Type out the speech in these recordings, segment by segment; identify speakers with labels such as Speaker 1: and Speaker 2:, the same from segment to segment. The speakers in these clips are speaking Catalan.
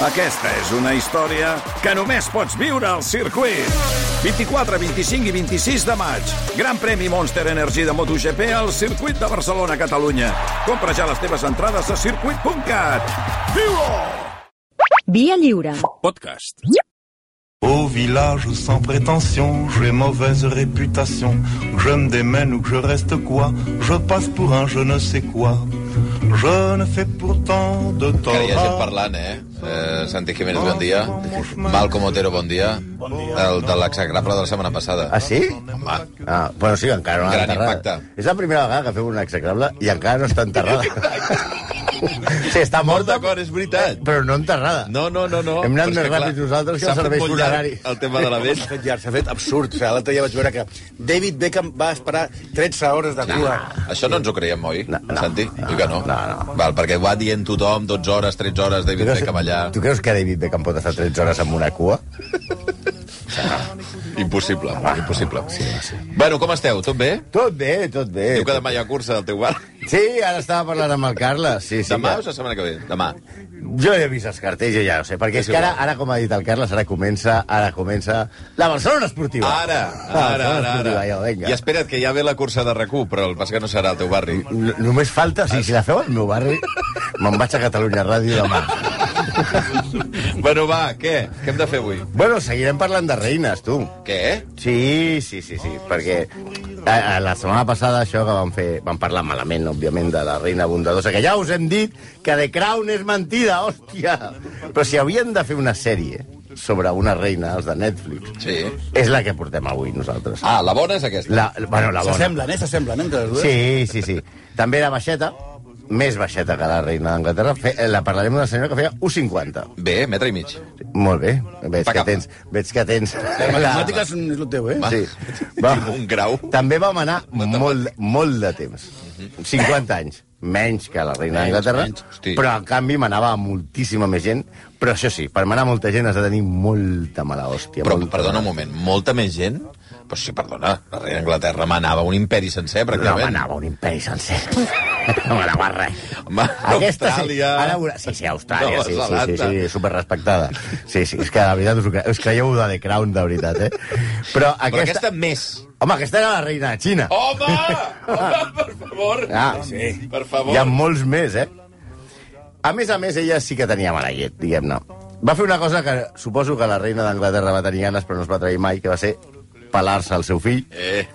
Speaker 1: Aquesta és una història que només pots viure al circuit. 24, 25 i 26 de maig. Gran premi Monster Energy de MotoGP al circuit de Barcelona, Catalunya. Compra ja les teves entrades a circuit.cat. Viu-ho!
Speaker 2: Via lliure.
Speaker 1: Podcast.
Speaker 3: Au village sans prétention, j'ai mauvaise réputation. Que je me démène ou que je reste quoi, je passe pour un je ne sais quoi. Je ne fais pourtant de tort.
Speaker 4: Encara hi ha gent
Speaker 3: à-
Speaker 4: parlant, eh? eh Santi Jiménez, bon dia. Malcom Otero, bon dia. El de l'execrable de la setmana passada.
Speaker 5: Ah, sí?
Speaker 4: Home,
Speaker 5: Ah, bueno, sí, encara no l'ha
Speaker 4: Gran
Speaker 5: enterrada.
Speaker 4: impacte.
Speaker 5: És la primera vegada que fem un execrable i encara no està enterrada. sí, està morta,
Speaker 4: d'acord, és veritat.
Speaker 5: però no enterrada.
Speaker 4: No, no, no, no.
Speaker 5: Hem
Speaker 4: Però
Speaker 5: anat
Speaker 4: és
Speaker 5: més
Speaker 4: que, clar,
Speaker 5: ràpids nosaltres que
Speaker 4: s'ha
Speaker 5: els
Speaker 4: fet
Speaker 5: serveis
Speaker 4: molt llarg
Speaker 5: funeraris.
Speaker 4: el tema de la vet.
Speaker 6: S'ha fet llarg, s'ha fet absurd. O sigui, L'altre dia vaig veure que David Beckham va esperar 13 hores de cua.
Speaker 4: Això no ens ho creiem, oi,
Speaker 5: No, no.
Speaker 4: Santi? Oi que no?
Speaker 5: No, no.
Speaker 4: Val, perquè ho va dient tothom, 12 hores, 13 hores,
Speaker 5: Tu
Speaker 4: David
Speaker 5: creus,
Speaker 4: Beckham allà...
Speaker 5: tu creus que David Beckham pot estar 13 hores amb una cua?
Speaker 4: Impossible,
Speaker 5: Ah,
Speaker 4: impossible. Bueno, com esteu? Tot bé?
Speaker 5: Tot bé, tot bé.
Speaker 4: Diu que demà hi ha cursa del teu bar.
Speaker 5: Sí, ara estava parlant amb el Carles. Sí, sí,
Speaker 4: Demà o
Speaker 5: que-
Speaker 4: la setmana que ve? Demà.
Speaker 5: Jo he vist els cartells, jo ja ho sé, perquè és,
Speaker 4: És
Speaker 5: que ara,
Speaker 4: igual.
Speaker 5: ara, com ha dit el Carles, ara comença, ara comença la Barcelona Esportiva.
Speaker 4: Ara,
Speaker 5: La
Speaker 4: ara,
Speaker 5: Barcelona
Speaker 4: ara.
Speaker 5: Esportiva,
Speaker 4: ara.
Speaker 5: jo, vinga.
Speaker 4: I espera't, que ja ve la cursa de RAC1, però el pas que no serà al teu barri.
Speaker 5: No- Només falta, o sigui, si la feu al meu barri, me'n vaig a Catalunya Ràdio demà.
Speaker 4: bueno, va, què? Què hem de fer avui?
Speaker 5: Bueno, seguirem parlant de reines, tu.
Speaker 4: Què?
Speaker 5: Sí, sí, sí, sí, perquè a, a la setmana passada això que van fer, van parlar malament, òbviament, de la reina bondadosa, que ja us hem dit que The Crown és mentida, hòstia! Però si havien de fer una sèrie sobre una reina, els de Netflix,
Speaker 4: Sí.
Speaker 5: és la que portem avui nosaltres.
Speaker 4: Ah, la bona és aquesta.
Speaker 5: La, bueno, la bona.
Speaker 6: S'assemblen, eh? S'assemblen entre les dues.
Speaker 5: Sí, sí, sí. També era baixeta, més baixeta que la reina d'Anglaterra. Fe- eh, La parlarem d'una senyora que feia 1,50.
Speaker 4: Bé, metre i mig.
Speaker 5: Molt bé. Veig
Speaker 4: Va
Speaker 5: que
Speaker 4: cap.
Speaker 5: tens... Veig que tens...
Speaker 6: Les matemàtiques és el teu, eh?
Speaker 4: Va.
Speaker 5: Sí.
Speaker 4: Va. Un grau.
Speaker 5: També vam anar molt, molt de temps. 50 anys. Menys que la reina d'Anglaterra,
Speaker 4: Mhm. menys. Hosti.
Speaker 5: però en canvi manava moltíssima més gent. Però això sí, per manar molta gent has de tenir molta mala hòstia.
Speaker 4: Però,
Speaker 5: molta
Speaker 4: perdona
Speaker 5: mala-
Speaker 4: un moment, molta més gent? Però sí, perdona, la reina d'Anglaterra manava un imperi sencer,
Speaker 5: No
Speaker 4: pràcticament.
Speaker 5: manava un imperi sencer. No manava res.
Speaker 4: Home,
Speaker 5: sí,
Speaker 4: Austràlia.
Speaker 5: ara, veurà- sí, sí, Austrària,
Speaker 4: Nova
Speaker 5: sí, sí, sí,
Speaker 4: Zelanda.
Speaker 5: sí, superrespectada. Sí, sí, és que de veritat us, ho cre- us creieu de The Crown, de veritat, eh? Però aquesta...
Speaker 4: Però aquesta més.
Speaker 5: Home, aquesta era la reina de Xina.
Speaker 4: Home! Home, per favor!
Speaker 5: Ah, sí.
Speaker 4: Per favor.
Speaker 5: Hi ha molts més, eh? A més a més, ella sí que tenia mala llet, diguem-ne. Va fer una cosa que suposo que la reina d'Anglaterra va tenir ganes, però no es va trair mai, que va ser pelar-se al seu fill,
Speaker 4: Eh,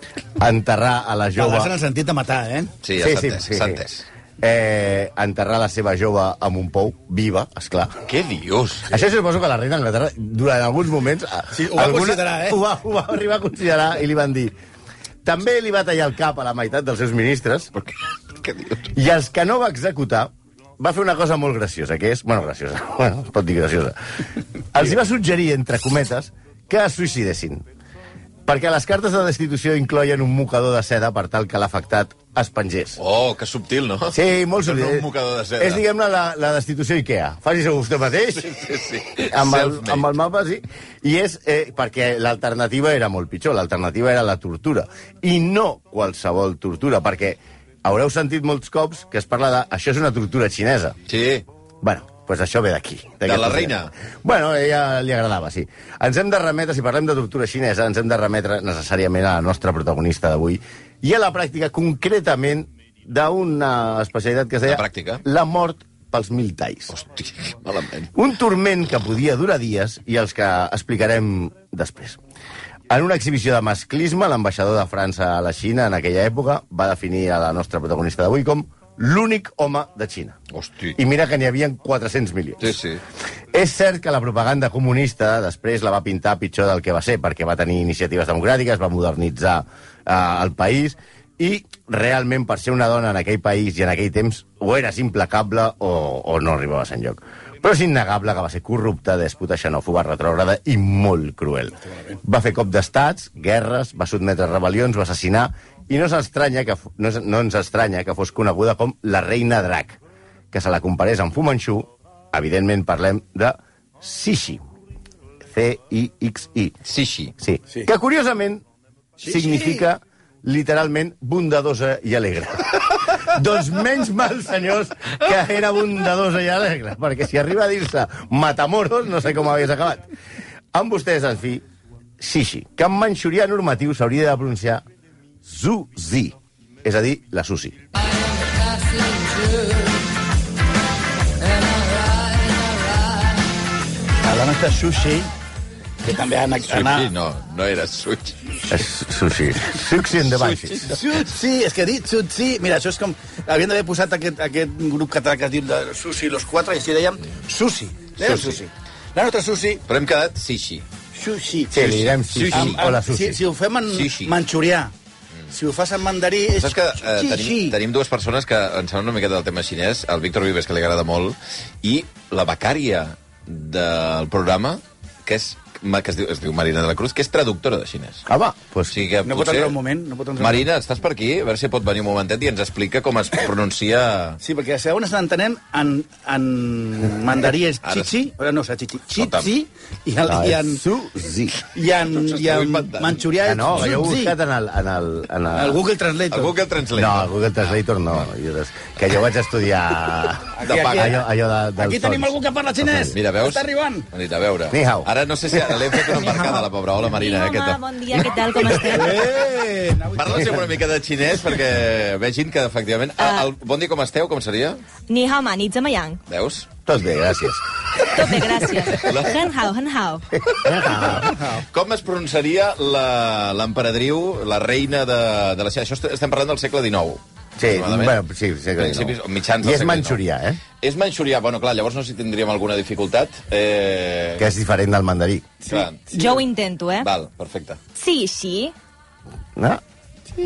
Speaker 5: enterrar a la jove...
Speaker 6: Pelar-se en el sentit de matar, eh?
Speaker 4: sí, ja s'ha entès, s'ha entès.
Speaker 5: Eh, enterrar la seva jove amb un pou, viva, és clar.
Speaker 4: Què dius?
Speaker 5: Això suposo que la reina d'Anglaterra, durant alguns moments...
Speaker 6: Sí, ho va considerar, eh?
Speaker 5: Ho va, ho va arribar a considerar i li van dir... També li va tallar el cap a la meitat dels seus ministres
Speaker 4: Per què? Què dius?
Speaker 5: i els que no va executar va fer una cosa molt graciosa, que és... Bueno, graciosa, bueno, es pot dir graciosa. Els hi va suggerir, entre cometes, que es suïcidessin. Perquè les cartes de destitució incloien un mocador de seda per tal que l'afectat es pengés.
Speaker 4: Oh, que subtil, no?
Speaker 5: Sí, molt
Speaker 4: Això no
Speaker 5: sovint.
Speaker 4: és un mocador de seda.
Speaker 5: És, diguem-ne, la, la destitució IKEA. Faci-ho vostè mateix. Sí,
Speaker 4: sí, sí.
Speaker 5: Amb, el,
Speaker 4: Self-made.
Speaker 5: amb el mapa, sí. I és eh, perquè l'alternativa era molt pitjor. L'alternativa era la tortura. I no qualsevol tortura, perquè haureu sentit molts cops que es parla de... Això és una tortura xinesa.
Speaker 4: Sí.
Speaker 5: Bueno, doncs això ve d'aquí.
Speaker 4: De la
Speaker 5: d'aquesta
Speaker 4: reina.
Speaker 5: gent. Bueno, a ella li agradava, sí. Ens hem de remetre, si parlem de tortura xinesa, ens hem de remetre necessàriament a la nostra protagonista d'avui i a la pràctica, concretament, d'una especialitat que es deia...
Speaker 4: La pràctica?
Speaker 5: La mort pels mil talls.
Speaker 4: Hosti, que malament.
Speaker 5: Un torment que podia durar dies i els que explicarem després. En una exhibició de masclisme, l'ambaixador de França a la Xina en aquella època va definir a la nostra protagonista d'avui com l'únic home de Xina.
Speaker 4: Hosti.
Speaker 5: I mira que n'hi havia 400 milions.
Speaker 4: Sí, sí.
Speaker 5: És cert que la propaganda comunista després la va pintar pitjor del que va ser, perquè va tenir iniciatives democràtiques, va modernitzar eh, el país, i realment per ser una dona en aquell país i en aquell temps o eres implacable o, o no arribaves enlloc. Però és innegable que va ser corrupta, dèspota, xenòfoba, retrògrada i molt cruel. Va fer cop d'estats, guerres, va sotmetre rebel·lions, va assassinar, i no, s'estranya que, fo- no, és- no ens estranya que fos coneguda com la reina drac, que se la comparés amb Fu Manchu, evidentment parlem de Xixi. C-I-X-I.
Speaker 4: Sí, sí.
Speaker 5: Sí.
Speaker 6: Sí.
Speaker 5: Que, curiosament,
Speaker 6: Xixi.
Speaker 5: significa literalment bondadosa i alegre. doncs menys mal, senyors, que era abundadors i alegre, perquè si arriba a dir-se Matamoros, no sé com hagués acabat. Amb vostès, en fi, Shishi, que en manxurià normatiu s'hauria de pronunciar Zuzi, és a dir, la Susi.
Speaker 6: Parlant de sushi, que també han anar...
Speaker 4: Sushi, no, no era sushi.
Speaker 5: És Sushi. Sushi en de baixis.
Speaker 6: Sushi, és que dir sushi... Mira, això és com... Havien d'haver posat aquest, aquest grup català que es diu de sushi, los quatre, i així dèiem sushi. Dèiem
Speaker 4: Sushi.
Speaker 6: sushi. La nostra sushi,
Speaker 4: Però hem quedat sushi.
Speaker 6: sushi.
Speaker 5: Sí, li direm sushi,
Speaker 6: Amb- amb-
Speaker 5: o la
Speaker 6: si,
Speaker 5: sushi.
Speaker 6: si ho fem en
Speaker 4: Sushi.
Speaker 6: manxurià, si ho fas en mandarí... És...
Speaker 4: Mm. Saps que eh,
Speaker 6: sushi.
Speaker 4: tenim, tenim dues persones que ens saben una miqueta del tema xinès, el Víctor Vives, que li agrada molt, i la becària del programa, que és ma- que es diu, es diu Marina de la Cruz, que és traductora de xinès.
Speaker 5: Ah, va, pues,
Speaker 4: O sigui que
Speaker 6: No pot entrar un moment, no pot entrar un
Speaker 4: Marina, estàs per aquí? A veure si pot venir un momentet i ens explica com es pronuncia...
Speaker 6: Sí, perquè si on estan entenent, en, en mandarí és
Speaker 4: Ara-
Speaker 6: chichi, ara no, serà chichi,
Speaker 4: Escolta'm.
Speaker 6: chichi, i, el,
Speaker 5: Ah,
Speaker 6: i
Speaker 5: és
Speaker 6: en,
Speaker 5: Susi.
Speaker 6: i en,
Speaker 4: Tots
Speaker 6: i
Speaker 4: esteu
Speaker 6: en
Speaker 4: inventant.
Speaker 6: manxurià
Speaker 5: Ah,
Speaker 6: és
Speaker 5: no, jo he
Speaker 6: zutzi.
Speaker 5: buscat en el... En el, en el...
Speaker 6: El Google Translate.
Speaker 4: El Google Translate.
Speaker 5: No, el Google Translator no. Jo, des- que jo vaig estudiar...
Speaker 4: De paga.
Speaker 5: Allò, allò de, dels
Speaker 6: Aquí tenim
Speaker 5: tons.
Speaker 6: algú que parla xinès.
Speaker 4: Mira, veus?
Speaker 6: Està arribant.
Speaker 4: Ha dit, a veure.
Speaker 5: Ni hao.
Speaker 4: Ara no sé si ara l'hem fet una embarcada, la pobra. Hola, Marina.
Speaker 2: Sí,
Speaker 4: eh,
Speaker 2: home,
Speaker 4: tal?
Speaker 2: bon dia, què tal, com esteu?
Speaker 6: Eh, anava-
Speaker 4: Parla sempre una mica de xinès perquè vegin que, efectivament... Ah, el, bon dia, com esteu? Com seria?
Speaker 2: Ni hao ma, ni zema yang.
Speaker 4: Veus?
Speaker 5: Tot bé, gràcies.
Speaker 2: Tot bé, gràcies. Hen hao, hen hao.
Speaker 4: Com es pronunciaria la- l'emperadriu, la, la reina de, de la Xina? Això est- estem parlant del segle XIX.
Speaker 5: Sí,
Speaker 4: aproximadament.
Speaker 5: bueno, sí, sí, que
Speaker 4: Principis o
Speaker 5: no.
Speaker 4: mitjans del
Speaker 5: I és
Speaker 4: segle
Speaker 5: manxurià, eh?
Speaker 4: És manxurià, bueno, clar, llavors no sé si tindríem alguna dificultat. Eh...
Speaker 5: Que és diferent del mandarí.
Speaker 4: Clar,
Speaker 2: Jo ho intento, eh?
Speaker 4: Val, perfecte.
Speaker 2: Sí, sí.
Speaker 5: No?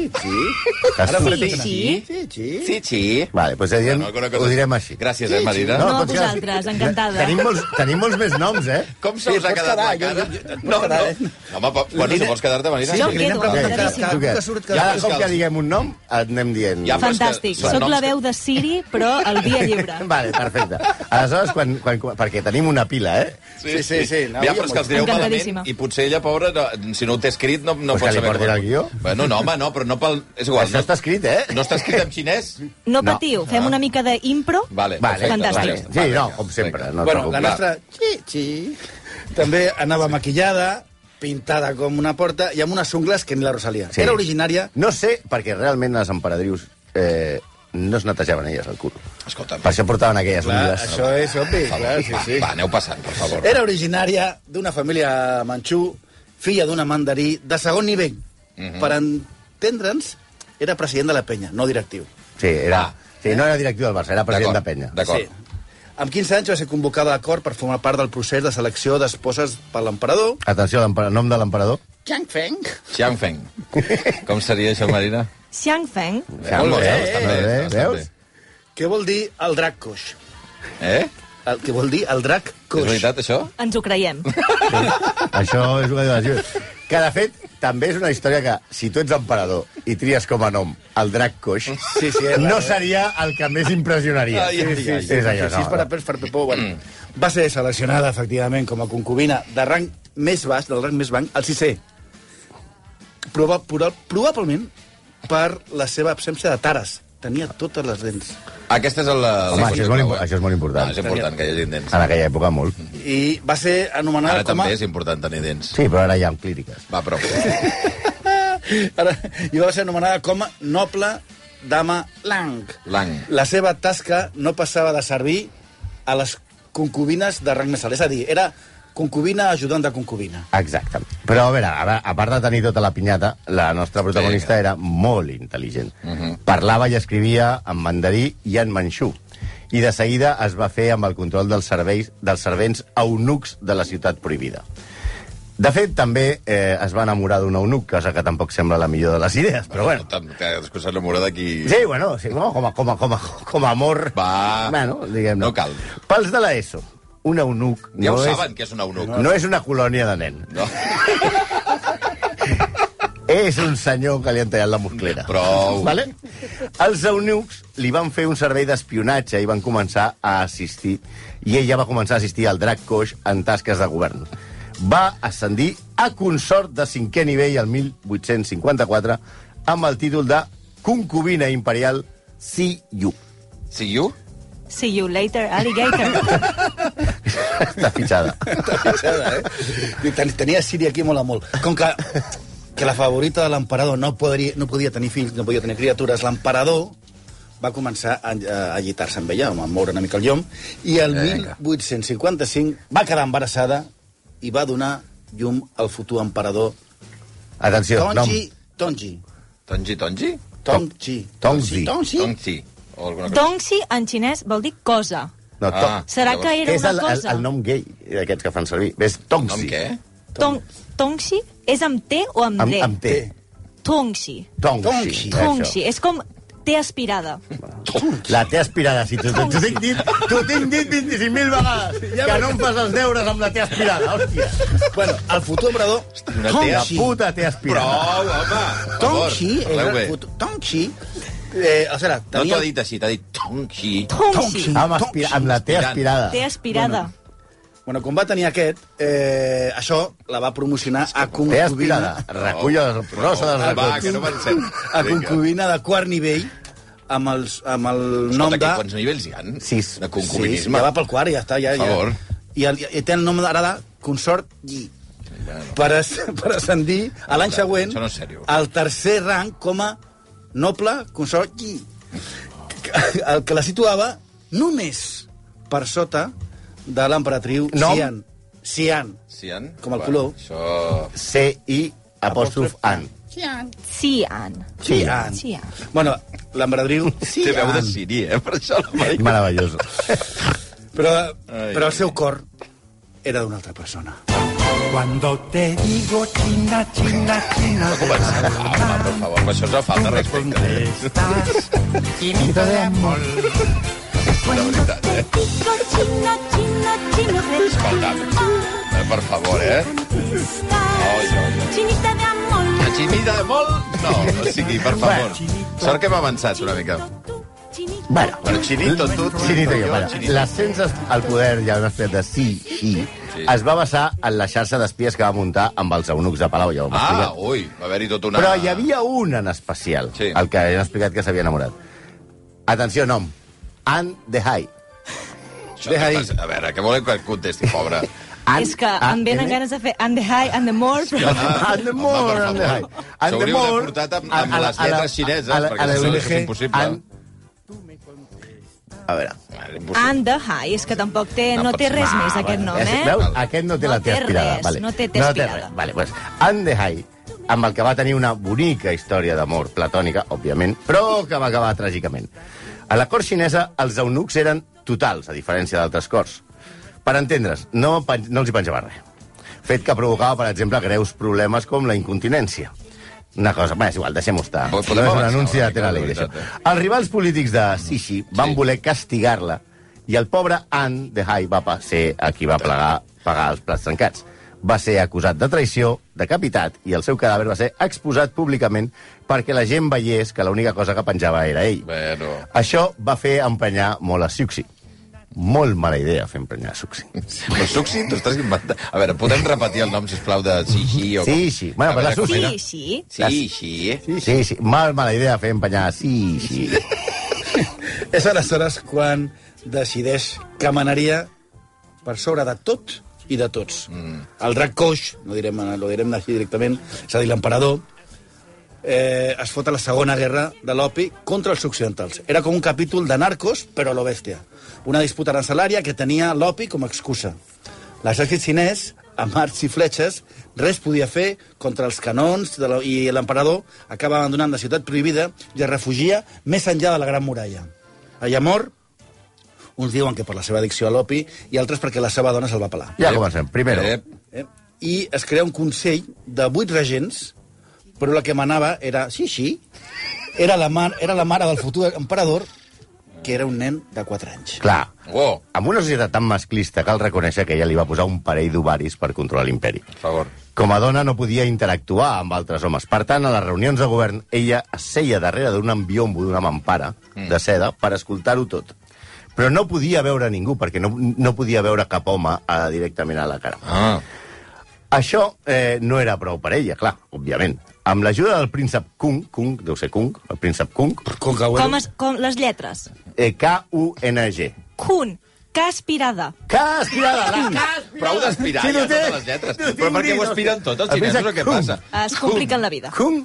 Speaker 5: Que
Speaker 4: Ara
Speaker 5: sí.
Speaker 4: volem-
Speaker 2: Sí, sí.
Speaker 6: Sí, sí.
Speaker 4: Sí, sí.
Speaker 5: Vale, doncs direm,
Speaker 4: Bueno, alguna cosa-
Speaker 5: ho direm així.
Speaker 4: Gràcies, eh, Marina.
Speaker 2: No,
Speaker 5: pots quedar-
Speaker 2: vosaltres, encantada.
Speaker 5: Tenim molts, tenim molts més noms, eh?
Speaker 4: Com se us
Speaker 6: Sí,
Speaker 4: ha
Speaker 6: pots
Speaker 4: quedat
Speaker 6: quedar,
Speaker 4: la cara?
Speaker 6: jo- jo- et pots
Speaker 4: no,
Speaker 6: quedar, eh?
Speaker 4: no. Home, pa, bueno, si
Speaker 6: Lina-
Speaker 4: vols quedar-te, Marina...
Speaker 2: Sí, Jo em
Speaker 6: Lina
Speaker 2: quedo,
Speaker 6: em pregunta
Speaker 2: encantadíssim.
Speaker 6: cada-
Speaker 5: tu
Speaker 6: cada
Speaker 5: què?
Speaker 6: cop que surt, cada
Speaker 5: Cada
Speaker 6: vegada
Speaker 5: cop
Speaker 4: que
Speaker 5: que
Speaker 4: els-
Speaker 5: diguem un nom, et anem dient.
Speaker 4: Ja, però és que
Speaker 2: Fantàstic.
Speaker 4: són
Speaker 2: Soc la
Speaker 4: noms que-
Speaker 2: veu de Siri, però el dia lliure.
Speaker 5: Vale, perfecte. Aleshores, quan, quan, quan, perquè tenim una pila, eh?
Speaker 6: Sí, sí, sí,
Speaker 4: Ja,
Speaker 6: no,
Speaker 4: però
Speaker 6: ja
Speaker 4: és que els direu
Speaker 2: Encantadíssima.
Speaker 4: malament i potser ella, pobra, no, si no ho té escrit, no, no
Speaker 5: Pues
Speaker 4: pot
Speaker 5: que li
Speaker 4: saber...
Speaker 5: portin
Speaker 4: com-
Speaker 5: el guió.
Speaker 4: Bueno, no, home, no, però no pel... És igual.
Speaker 5: Això
Speaker 4: no,
Speaker 5: està escrit, eh?
Speaker 4: no està escrit en xinès?
Speaker 2: No
Speaker 5: No.
Speaker 2: patiu, fem una mica d'impro.
Speaker 4: Vale, doncs
Speaker 5: Vale,
Speaker 2: Fantàstic.
Speaker 5: vale. Sí, no, com sempre. No et
Speaker 6: bueno, la
Speaker 5: preocupis.
Speaker 6: nostra Chichi també anava maquillada, pintada com una porta i amb unes ungles que ni la Rosalia.
Speaker 5: Sí.
Speaker 6: Era originària...
Speaker 5: No sé, perquè realment les emperadrius eh, no es netejaven elles el cul.
Speaker 4: Escolta'm,
Speaker 5: Per això portaven aquelles
Speaker 6: Clar,
Speaker 5: ungles.
Speaker 6: això és obvi, clar, sí,
Speaker 4: va,
Speaker 6: sí.
Speaker 4: va, aneu passant, per favor.
Speaker 6: Era originària d'una família manxú, filla d'una mandarí de segon nivell.
Speaker 4: Mhm.
Speaker 6: Per entendre'ns, era president de la penya, no directiu.
Speaker 5: Sí, era...
Speaker 4: Ah.
Speaker 5: Sí, no era directiu del Barça, era president de
Speaker 4: D'acord,
Speaker 5: penya.
Speaker 4: D'acord.
Speaker 6: Amb 15 anys va ser convocada a cor per formar part del procés de selecció d'esposes per l'emperador.
Speaker 5: Atenció, l'empera- nom de l'emperador.
Speaker 6: Chang Feng.
Speaker 4: Xiang Feng. Com seria això, Marina?
Speaker 2: Xiang Feng.
Speaker 4: Molt bé,
Speaker 5: eh,
Speaker 4: bastant bé,
Speaker 5: eh,
Speaker 4: bastant
Speaker 5: veus?
Speaker 6: Què vol dir el drac coix?
Speaker 4: Eh?
Speaker 6: El que vol dir el drac
Speaker 4: És
Speaker 6: coix.
Speaker 4: veritat, això?
Speaker 2: Ens ho creiem.
Speaker 5: Això és una diversió. Que, de fet, també és una història que, si tu ets emperador i tries com a nom el drac coix,
Speaker 6: Sí, sí, és raro,
Speaker 5: no
Speaker 6: eh?
Speaker 5: seria el que més impressionaria.
Speaker 4: Ai, ai, ai.
Speaker 5: És allò,
Speaker 6: Sí, és per a
Speaker 5: no.
Speaker 6: pers, per a pepó, bueno.
Speaker 4: Mm.
Speaker 6: Va ser seleccionada, efectivament, com a concubina de rang més baix, del rang més banc, al sisè. Proba, proba, probablement per la seva absència de tares. Tenia totes les dents.
Speaker 4: Aquesta és la...
Speaker 5: Home, això és molt impo- això és molt important.
Speaker 4: No, eh? Ah, és important que hi hagi dents.
Speaker 5: En aquella època, molt.
Speaker 6: I va ser anomenada
Speaker 4: Ara
Speaker 6: com a...
Speaker 4: també és important tenir dents.
Speaker 5: Sí, però ara hi ha clíriques.
Speaker 4: Va, prou.
Speaker 6: Ara, I va ser anomenada com a noble dama Lang.
Speaker 4: Lang.
Speaker 6: La seva tasca no passava de servir a les concubines de rang més alt. És a dir, era concubina ajudant de concubina.
Speaker 5: Exacte. Però, a veure, a, veure, a part de tenir tota la pinyata, la nostra protagonista
Speaker 4: Vinga. Mhm.
Speaker 5: era molt intel·ligent. Parlava i escrivia en mandarí i en manxú. I de seguida es va fer amb el control dels serveis dels servents eunucs de la ciutat prohibida. De fet, també eh, es va enamorar d'un eunuc, cosa que tampoc sembla la millor de les idees, però bueno.
Speaker 4: Escolta'm, que has posat l'amorada aquí...
Speaker 5: Sí, bueno, sí, no, com, a, com, a, com, a, com a amor...
Speaker 4: Va.
Speaker 5: Bueno, diguem-ne.
Speaker 4: No cal.
Speaker 5: Pels de l'ESO, un eunuc...
Speaker 4: Ja ho
Speaker 5: no
Speaker 4: saben, que és un eunuc.
Speaker 5: No és una colònia de nen.
Speaker 4: No.
Speaker 5: És un senyor que li han tallat la musclera.
Speaker 4: Prou.
Speaker 5: Vale? Els eunucs li van fer un servei d'espionatge i van començar a assistir, i ella va començar a assistir al drac coix en tasques de govern. Va ascendir a consort de cinquè nivell el 1854 amb el títol de concubina imperial See you.
Speaker 4: See you?
Speaker 2: See you later, alligator.
Speaker 5: Està fitxada.
Speaker 6: Fixada, eh? Diu, ten- Tenia Siri aquí molt a molt. Com que, que la favorita de l'emperador no, podria, no podia tenir fills, no podia tenir criatures, l'emperador va començar a, a, a llitar-se amb ella, a moure una mica el llom, i el
Speaker 5: Vinga.
Speaker 6: 1855 va quedar embarassada i va donar llum al futur emperador
Speaker 5: Atenció, nom.
Speaker 6: Tongji, Tongji.
Speaker 4: Tongi, tongi?
Speaker 6: Tongji.
Speaker 5: Tongji.
Speaker 6: Tongji.
Speaker 4: Tongxi. O alguna cosa.
Speaker 2: Dongxi en xinès vol dir cosa.
Speaker 5: No, to...
Speaker 4: Ah.
Speaker 2: Serà
Speaker 4: Llavors,
Speaker 2: que era
Speaker 5: és
Speaker 2: una
Speaker 5: el, el,
Speaker 2: cosa?
Speaker 5: el, nom gay d'aquests que fan servir. És
Speaker 4: Nom
Speaker 5: Tongsi.
Speaker 4: què?
Speaker 2: Tong, tongxi és amb T o amb
Speaker 5: Amb,
Speaker 2: D?
Speaker 5: amb T.
Speaker 2: Tongxi.
Speaker 5: Tongsi.
Speaker 6: Tongxi.
Speaker 2: Tongxi. És com T aspirada.
Speaker 5: La té aspirada, si t'ho t'ho tinc dit, t'ho tinc dit 25.000 vegades, que no em fas els deures amb la té aspirada, hòstia.
Speaker 6: Bueno, el futur emperador...
Speaker 4: Una
Speaker 5: La
Speaker 6: Tongji.
Speaker 5: puta té aspirada.
Speaker 4: Prou, home! per favor,
Speaker 6: Tongxi era
Speaker 4: parleu
Speaker 6: el
Speaker 4: bé.
Speaker 6: futur... Tongxi... Eh, o sigui,
Speaker 4: No
Speaker 6: tenia...
Speaker 4: t'ho ha dit així, t'ha dit Tongxi.
Speaker 2: Tongxi.
Speaker 5: Amb, aspira, amb la té aspirada.
Speaker 2: T aspirada.
Speaker 6: Bueno, quan va tenir aquest, eh, això la va promocionar a
Speaker 5: Té
Speaker 6: concubina,
Speaker 5: aspirada. Recull les brossa dels
Speaker 4: Oh. Ah, Va,
Speaker 5: reculls.
Speaker 4: que no pensem.
Speaker 6: a concubina de quart nivell amb, els, amb el
Speaker 4: Escolta,
Speaker 6: nom de...
Speaker 4: que quants nivells hi han?
Speaker 5: Sis.
Speaker 4: De
Speaker 6: Sí,
Speaker 4: concubinisme.
Speaker 6: ja va pel quart, ja està. Ja,
Speaker 4: Per favor.
Speaker 6: Ja. I, el, I té el nom ara de consort Yi. Per, as, per ascendir a l'any
Speaker 4: Escolta,
Speaker 6: següent
Speaker 4: això no és sèrio.
Speaker 6: al tercer rang com a noble consort Yi. El que la situava només per sota de l'emperatriu
Speaker 5: Nom?
Speaker 6: Xian. Xian.
Speaker 4: Sian?
Speaker 6: Com el
Speaker 4: Bueno,
Speaker 6: color.
Speaker 4: Això...
Speaker 5: C-I apòstrof an.
Speaker 2: Xi'an.
Speaker 6: Xi'an.
Speaker 2: Xi'an.
Speaker 6: Bueno, l'emperadriu...
Speaker 4: Sí, Té veu de
Speaker 6: Xi'an.
Speaker 4: Siri, eh? Per això la Mari...
Speaker 5: Meravellós.
Speaker 6: Però,
Speaker 4: Ai, ai.
Speaker 6: però el seu cor era d'una altra persona.
Speaker 7: Cuando te digo China, China, China, de
Speaker 4: Home,
Speaker 7: la
Speaker 4: per favor, això és una eh? falta de respecte.
Speaker 7: ¿dónde estás? Chinito de amor.
Speaker 4: La veritat, eh? Escolta, eh, per favor, eh?
Speaker 8: Chinita de amor.
Speaker 4: La xinita de molt... No, o sigui, per favor. Sort que hem avançat una mica.
Speaker 5: Bueno,
Speaker 4: Bueno, xinito, tu...
Speaker 5: Chinito jo, para.
Speaker 4: xinito.
Speaker 5: L'ascens al poder, ja un aspecte de sí i
Speaker 4: Sí.
Speaker 5: es va basar en la xarxa d'espies que va muntar amb els eunucs de Palau, ja ho hem
Speaker 4: Ah,
Speaker 5: explicat.
Speaker 4: ui, va haver-hi tot una...
Speaker 5: Però hi havia un en especial,
Speaker 4: Sí.
Speaker 5: el que hem explicat que s'havia enamorat. Atenció, nom. Anne de Hai.
Speaker 4: Això que passa- A veure, que volem que et contesti, pobre.
Speaker 5: Anne-
Speaker 2: És que
Speaker 4: Ah,
Speaker 2: em venen
Speaker 5: A-N-
Speaker 2: ganes de fer and the high and the more, però...
Speaker 5: And the
Speaker 4: Home,
Speaker 5: more,
Speaker 4: per
Speaker 5: and the high.
Speaker 4: favor. S'hauríeu de portar amb- amb les lletres xineses, perquè si no, això és impossible.
Speaker 5: A veure,
Speaker 4: Vale, impossible.
Speaker 2: And the high. És que tampoc té,
Speaker 4: No
Speaker 2: no
Speaker 4: pot
Speaker 2: té
Speaker 4: ser.
Speaker 2: res més,
Speaker 5: Ah,
Speaker 2: aquest
Speaker 5: bueno,
Speaker 2: nom,
Speaker 5: és-
Speaker 2: eh?
Speaker 5: Veus? Aquest no té
Speaker 2: No
Speaker 5: la té
Speaker 2: té
Speaker 5: aspirada.
Speaker 2: res,
Speaker 5: vale.
Speaker 2: no té té aspirada.
Speaker 5: res. Vale, pues, Anne de Hai, amb el que va tenir una bonica història d'amor platònica, òbviament, però que va acabar tràgicament. A la cort xinesa, els eunucs eren totals, a diferència d'altres corts. Per entendre's, no, pen- no els hi penjava res. Fet que provocava, per exemple, greus problemes com la incontinència. Una cosa, bé, és igual, deixem-ho estar.
Speaker 4: Podem
Speaker 5: no és un
Speaker 4: avançar
Speaker 5: anunci
Speaker 4: una
Speaker 5: de
Speaker 4: mica,
Speaker 5: Tele
Speaker 4: la
Speaker 5: Alegre, això.
Speaker 4: veritat, eh?
Speaker 5: Els rivals polítics de Sixi van
Speaker 4: Sí.
Speaker 5: sí. voler castigar-la i el pobre An de Hai va pa- ser a qui va plegar, pagar els plats trencats. Va ser acusat de traïció, decapitat, i el seu cadàver va ser exposat públicament perquè la gent veiés que l'única cosa que penjava era ell.
Speaker 4: Bueno,
Speaker 5: Això va fer emprenyar molt a Siuxi. Molt mala idea fer emprenyar a Siuxi.
Speaker 4: però Suxi, t'ho estàs inventant. A veure, podem repetir el nom, sisplau, de Xixi o...
Speaker 5: Sí, sí. Bueno,
Speaker 4: A
Speaker 5: però
Speaker 4: veure
Speaker 5: la
Speaker 4: com
Speaker 5: Suxi-
Speaker 4: era.
Speaker 2: Sí, sí.
Speaker 4: Xixi.
Speaker 5: Sí, sí, sí. Mal, mala idea fer emprenyar a Siuxi.
Speaker 6: És aleshores quan decideix que manaria per sobre de tot i de tots. Mm. El drac coix, no direm, lo direm així directament, és a dir, l'emperador, eh, es fot a la segona guerra de l'opi contra els occidentals. Era com un capítol de narcos, però a lo bèstia. Una disputa arancelària que tenia l'opi com a excusa. L'exèrcit xinès, amb arts i fletxes, res podia fer contra els canons de la... i l'emperador acaba abandonant la ciutat prohibida i es refugia més enllà de la Gran Muralla. Allà mor, uns diuen que per la seva addicció a l'opi i altres perquè la seva dona se'l va pelar.
Speaker 5: Ja comencem. Primero,
Speaker 4: Ep.
Speaker 6: Eh? I es crea un consell de vuit regents, però la que manava era Xixi, era la, mar, era la mare del futur emperador, que era un nen de 4 anys.
Speaker 5: clar,
Speaker 4: Oh,
Speaker 5: Amb una societat tan masclista cal reconèixer que ella li va posar un parell d'ovaris per controlar l'imperi.
Speaker 4: per favor.
Speaker 5: Com a dona no podia interactuar amb altres homes. Per tant, a les reunions de govern, ella es seia darrere d'un ambiombo, d'una mampara de seda, per escoltar-ho tot. Però no podia veure ningú, perquè no, no podia veure cap home eh, directament a la cara.
Speaker 4: Ah,
Speaker 5: Això eh, no era prou per ella, clar, òbviament. Amb l'ajuda del príncep Kung, Kung, deu ser Kung, el príncep Kung,
Speaker 2: Com, es, com les lletres.
Speaker 5: eh, K-U-N-G.
Speaker 2: Kun, que aspirada.
Speaker 5: Que aspirada, la
Speaker 4: Prou d'aspirar,
Speaker 5: Sí,
Speaker 4: ja,
Speaker 5: no té-
Speaker 4: totes les lletres.
Speaker 5: no
Speaker 4: Però per
Speaker 5: tinc
Speaker 4: què ho
Speaker 5: ni-
Speaker 4: aspiren tot, els
Speaker 5: El príncep
Speaker 4: xinesos, o què
Speaker 5: Kung.
Speaker 4: passa?
Speaker 2: Ah, Es compliquen la vida.
Speaker 5: Kung,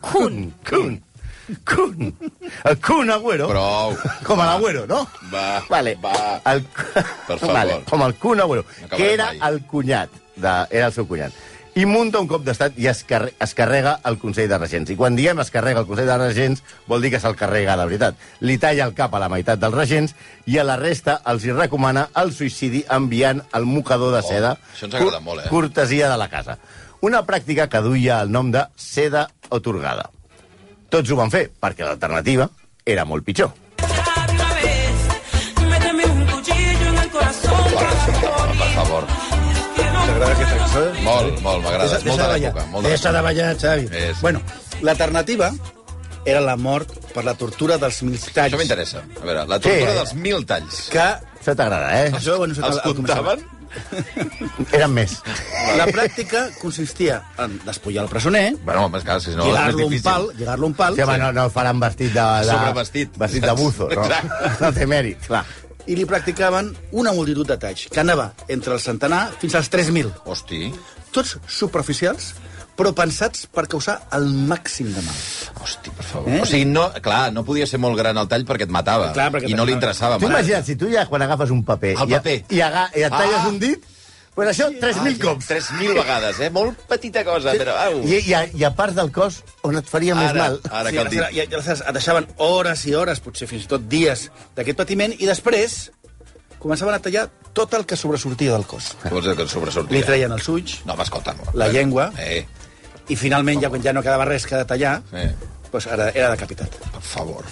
Speaker 2: Kun.
Speaker 5: Kun, Kun. El Kun Agüero.
Speaker 4: Prou.
Speaker 5: Com a l'Agüero, no?
Speaker 4: Va,
Speaker 5: Oh. Ah, Vale.
Speaker 4: va.
Speaker 5: El...
Speaker 4: Per favor.
Speaker 5: Vale, com el Kun Agüero,
Speaker 4: No acabarem
Speaker 5: que era
Speaker 4: mai.
Speaker 5: el cunyat, de... era el seu cunyat. I munta un cop d'estat i es, car es carrega el Consell de Regents. I quan diem es carrega el Consell de Regents, vol dir que se'l carrega de veritat. Li talla el cap a la meitat dels regents i a la resta els hi recomana el suïcidi enviant el mocador de seda.
Speaker 4: Oh, això ens agrada molt, eh?
Speaker 5: Cortesia de la casa. Una pràctica que duia el nom de seda otorgada. Tots ho van fer, perquè l'alternativa era molt pitjor.
Speaker 4: Per favor.
Speaker 6: T'agrada aquest episodi?
Speaker 4: Molt, molt, m'agrada. És molt de
Speaker 6: ballar.
Speaker 4: l'època. molt de
Speaker 6: Deixa de
Speaker 4: l'època.
Speaker 6: ballar, Xavi.
Speaker 4: Més.
Speaker 6: Bueno, l'alternativa era la mort per la tortura dels militars.
Speaker 4: Això m'interessa. A veure, la tortura
Speaker 5: Sí.
Speaker 4: dels mil talls.
Speaker 6: Que
Speaker 5: Això t'agrada, eh?
Speaker 6: això, bueno, això
Speaker 4: Els
Speaker 6: al- al començament.
Speaker 4: comptaven?
Speaker 5: Eren més.
Speaker 6: La pràctica consistia en despullar el presoner,
Speaker 4: Bueno, home, és clar, si no és més
Speaker 6: lligar-lo a un
Speaker 4: difícil.
Speaker 6: pal, lligar-lo a un pal,
Speaker 5: Sí, home, no, no el faran vestit de... de
Speaker 4: Sobrevestit.
Speaker 5: Vestit de buzo, no?
Speaker 4: Exacte.
Speaker 5: No té mèrit, clar.
Speaker 6: i li practicaven una multitud de talls, que anava entre el centenar fins als 3.000.
Speaker 4: Hosti,
Speaker 6: Tots superficials, però pensats per causar el màxim de mal.
Speaker 4: hosti, per favor.
Speaker 6: Eh?
Speaker 4: O sigui, no, clar, no podia ser molt gran el tall perquè et matava.
Speaker 6: Clar,
Speaker 4: I
Speaker 6: perquè
Speaker 4: no
Speaker 6: t'acabava.
Speaker 4: li interessava.
Speaker 5: T'ho
Speaker 4: matar.
Speaker 5: imagina't, si tu ja quan agafes un paper...
Speaker 4: El
Speaker 5: i,
Speaker 4: paper.
Speaker 5: I, aga, i et talles
Speaker 4: Ah.
Speaker 5: un dit, doncs això, 3.000 cops.
Speaker 4: 3.000 vegades, eh? Molt petita cosa, però... Au.
Speaker 5: I, i, a, I a part del cos, on et faria més
Speaker 4: Ara,
Speaker 5: mal.
Speaker 4: ara
Speaker 6: sí,
Speaker 4: que el
Speaker 6: aleshores,
Speaker 4: dit...
Speaker 6: i, i aleshores et deixaven hores i hores, potser fins i tot dies, d'aquest patiment, i després començaven a tallar tot el que sobresortia del cos.
Speaker 4: Vols dir que et sobresortia?
Speaker 6: Li treien els ulls,
Speaker 4: No, home, escolta'm.
Speaker 6: La llengua.
Speaker 4: Eh,
Speaker 6: i finalment, ja quan ja no quedava res que detallar,
Speaker 4: Eh.
Speaker 6: doncs ara era decapitat.
Speaker 4: per favor.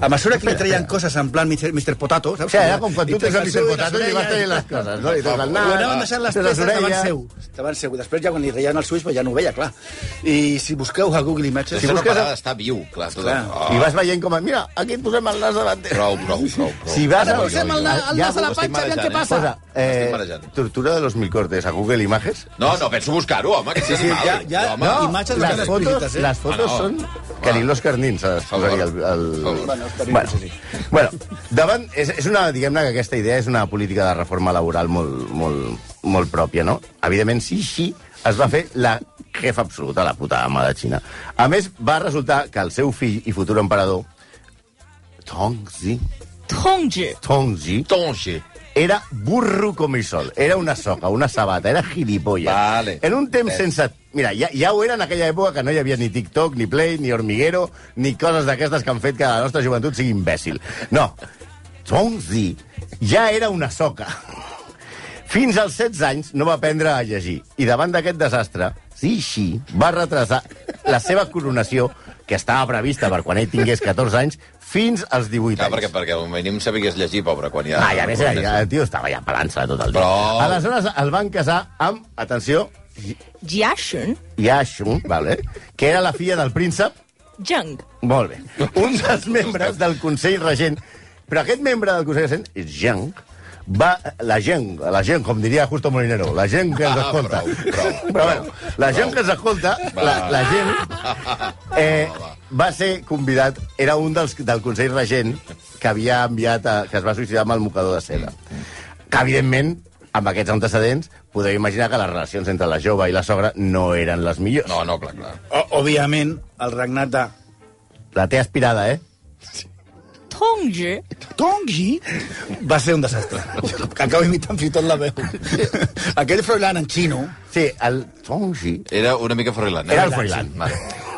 Speaker 6: A mesura que li treien coses en plan Mr. Mr. Potato, saps?
Speaker 5: Sí, era com quan
Speaker 6: Li
Speaker 5: tu tens el
Speaker 6: treus el
Speaker 5: Mr.
Speaker 6: ull,
Speaker 5: Potato i li
Speaker 6: les
Speaker 5: vas tenir
Speaker 6: orelles,
Speaker 5: les coses, no? I treus el nas...
Speaker 6: Ho anaven deixant les
Speaker 5: treus
Speaker 6: peces davant
Speaker 5: orelles.
Speaker 6: seu. Davant seu. I després, ja quan li reien els ulls, però ja no ho veia, clar. I si busqueu a Google Images...
Speaker 4: Si busques... No està viu, clar. Tot... Oh,
Speaker 6: Clar.
Speaker 5: I vas veient com... Mira, aquí et posem el nas davant teu.
Speaker 4: Prou, prou, prou, prou.
Speaker 5: Si vas a-
Speaker 6: posem el nas- el nas a la panxa, aviam què passa.
Speaker 5: Posa,
Speaker 4: Eh?
Speaker 5: eh,
Speaker 4: Estic marejant.
Speaker 5: tortura de los mil cortes a Google Images.
Speaker 4: No, no, penso buscar-ho, home, que sí, sí,
Speaker 6: ja, ja,
Speaker 4: home,
Speaker 6: no. imatges de
Speaker 5: les
Speaker 6: cares
Speaker 5: fotos,
Speaker 6: explícites, eh?
Speaker 5: les fotos
Speaker 4: Ah, no.
Speaker 5: són...
Speaker 4: Va.
Speaker 5: Que ni l'Òscar Nin se les
Speaker 4: Favor.
Speaker 5: posaria el... el...
Speaker 4: Favor.
Speaker 6: Bueno, Òscar Nin,
Speaker 5: bueno,
Speaker 6: potser sí.
Speaker 5: bueno, davant... És, és una, diguem-ne, que aquesta idea és una política de reforma laboral molt, molt, molt pròpia, no? Evidentment, sí, sí, es va fer la jefa absoluta, la puta ama de Xina. A més, va resultar que el seu fill i futur emperador, Tongzi,
Speaker 2: Tongji.
Speaker 5: Tongzi,
Speaker 4: Tonxi.
Speaker 5: era burro com el sol. Era una soca, una sabata, era gilipollas.
Speaker 4: Vale.
Speaker 5: En un temps
Speaker 4: Eh.
Speaker 5: sense... Mira, ja, ja ho era en aquella època que no hi havia ni TikTok, ni Play, ni Hormiguero, ni coses d'aquestes que han fet que la nostra joventut sigui imbècil. No. Zongzi ja era una soca. Fins als 16 anys no va aprendre a llegir. I davant d'aquest desastre, Xixi va retrasar la seva coronació, que estava prevista per quan ell tingués 14 anys, fins als 18
Speaker 4: Clar,
Speaker 5: anys.
Speaker 4: perquè, perquè al mínim sabigués llegir, pobre, quan ja...
Speaker 5: Ah, i a més, ja, ja, el tio estava ja pelant-se tot el dia.
Speaker 4: Prou.
Speaker 5: Aleshores, el van casar amb, atenció,
Speaker 2: Jiashun.
Speaker 5: Yashun, vale? que era la filla del príncep,
Speaker 2: Jung.
Speaker 5: molt bé, un dels membres del Consell Regent. Però aquest membre del Consell Regent és Jiang, va, la gent, la gent, com diria Justo Molinero, la gent que ens
Speaker 4: Ah,
Speaker 5: escolta.
Speaker 4: prou, prou,
Speaker 5: Però bueno, la gent que ens escolta, la,
Speaker 4: Va.
Speaker 5: la gent, eh, va ser convidat, era un dels, del Consell Regent que havia enviat, a, que es va suïcidar amb el mocador de seda. Que, evidentment, amb aquests antecedents, podeu imaginar que les relacions entre la jove i la sogra no eren les millors.
Speaker 4: No, no, clar, clar.
Speaker 6: O, òbviament, el regnat de
Speaker 5: La té aspirada, eh?
Speaker 2: Tongji.
Speaker 6: Tongji va ser un desastre. Acabo imitant fins i tot la veu. Aquell Froilán en xino
Speaker 5: Sí, el Tongji
Speaker 4: Era una mica Froilán.
Speaker 5: Era el Froilán.
Speaker 4: Vale.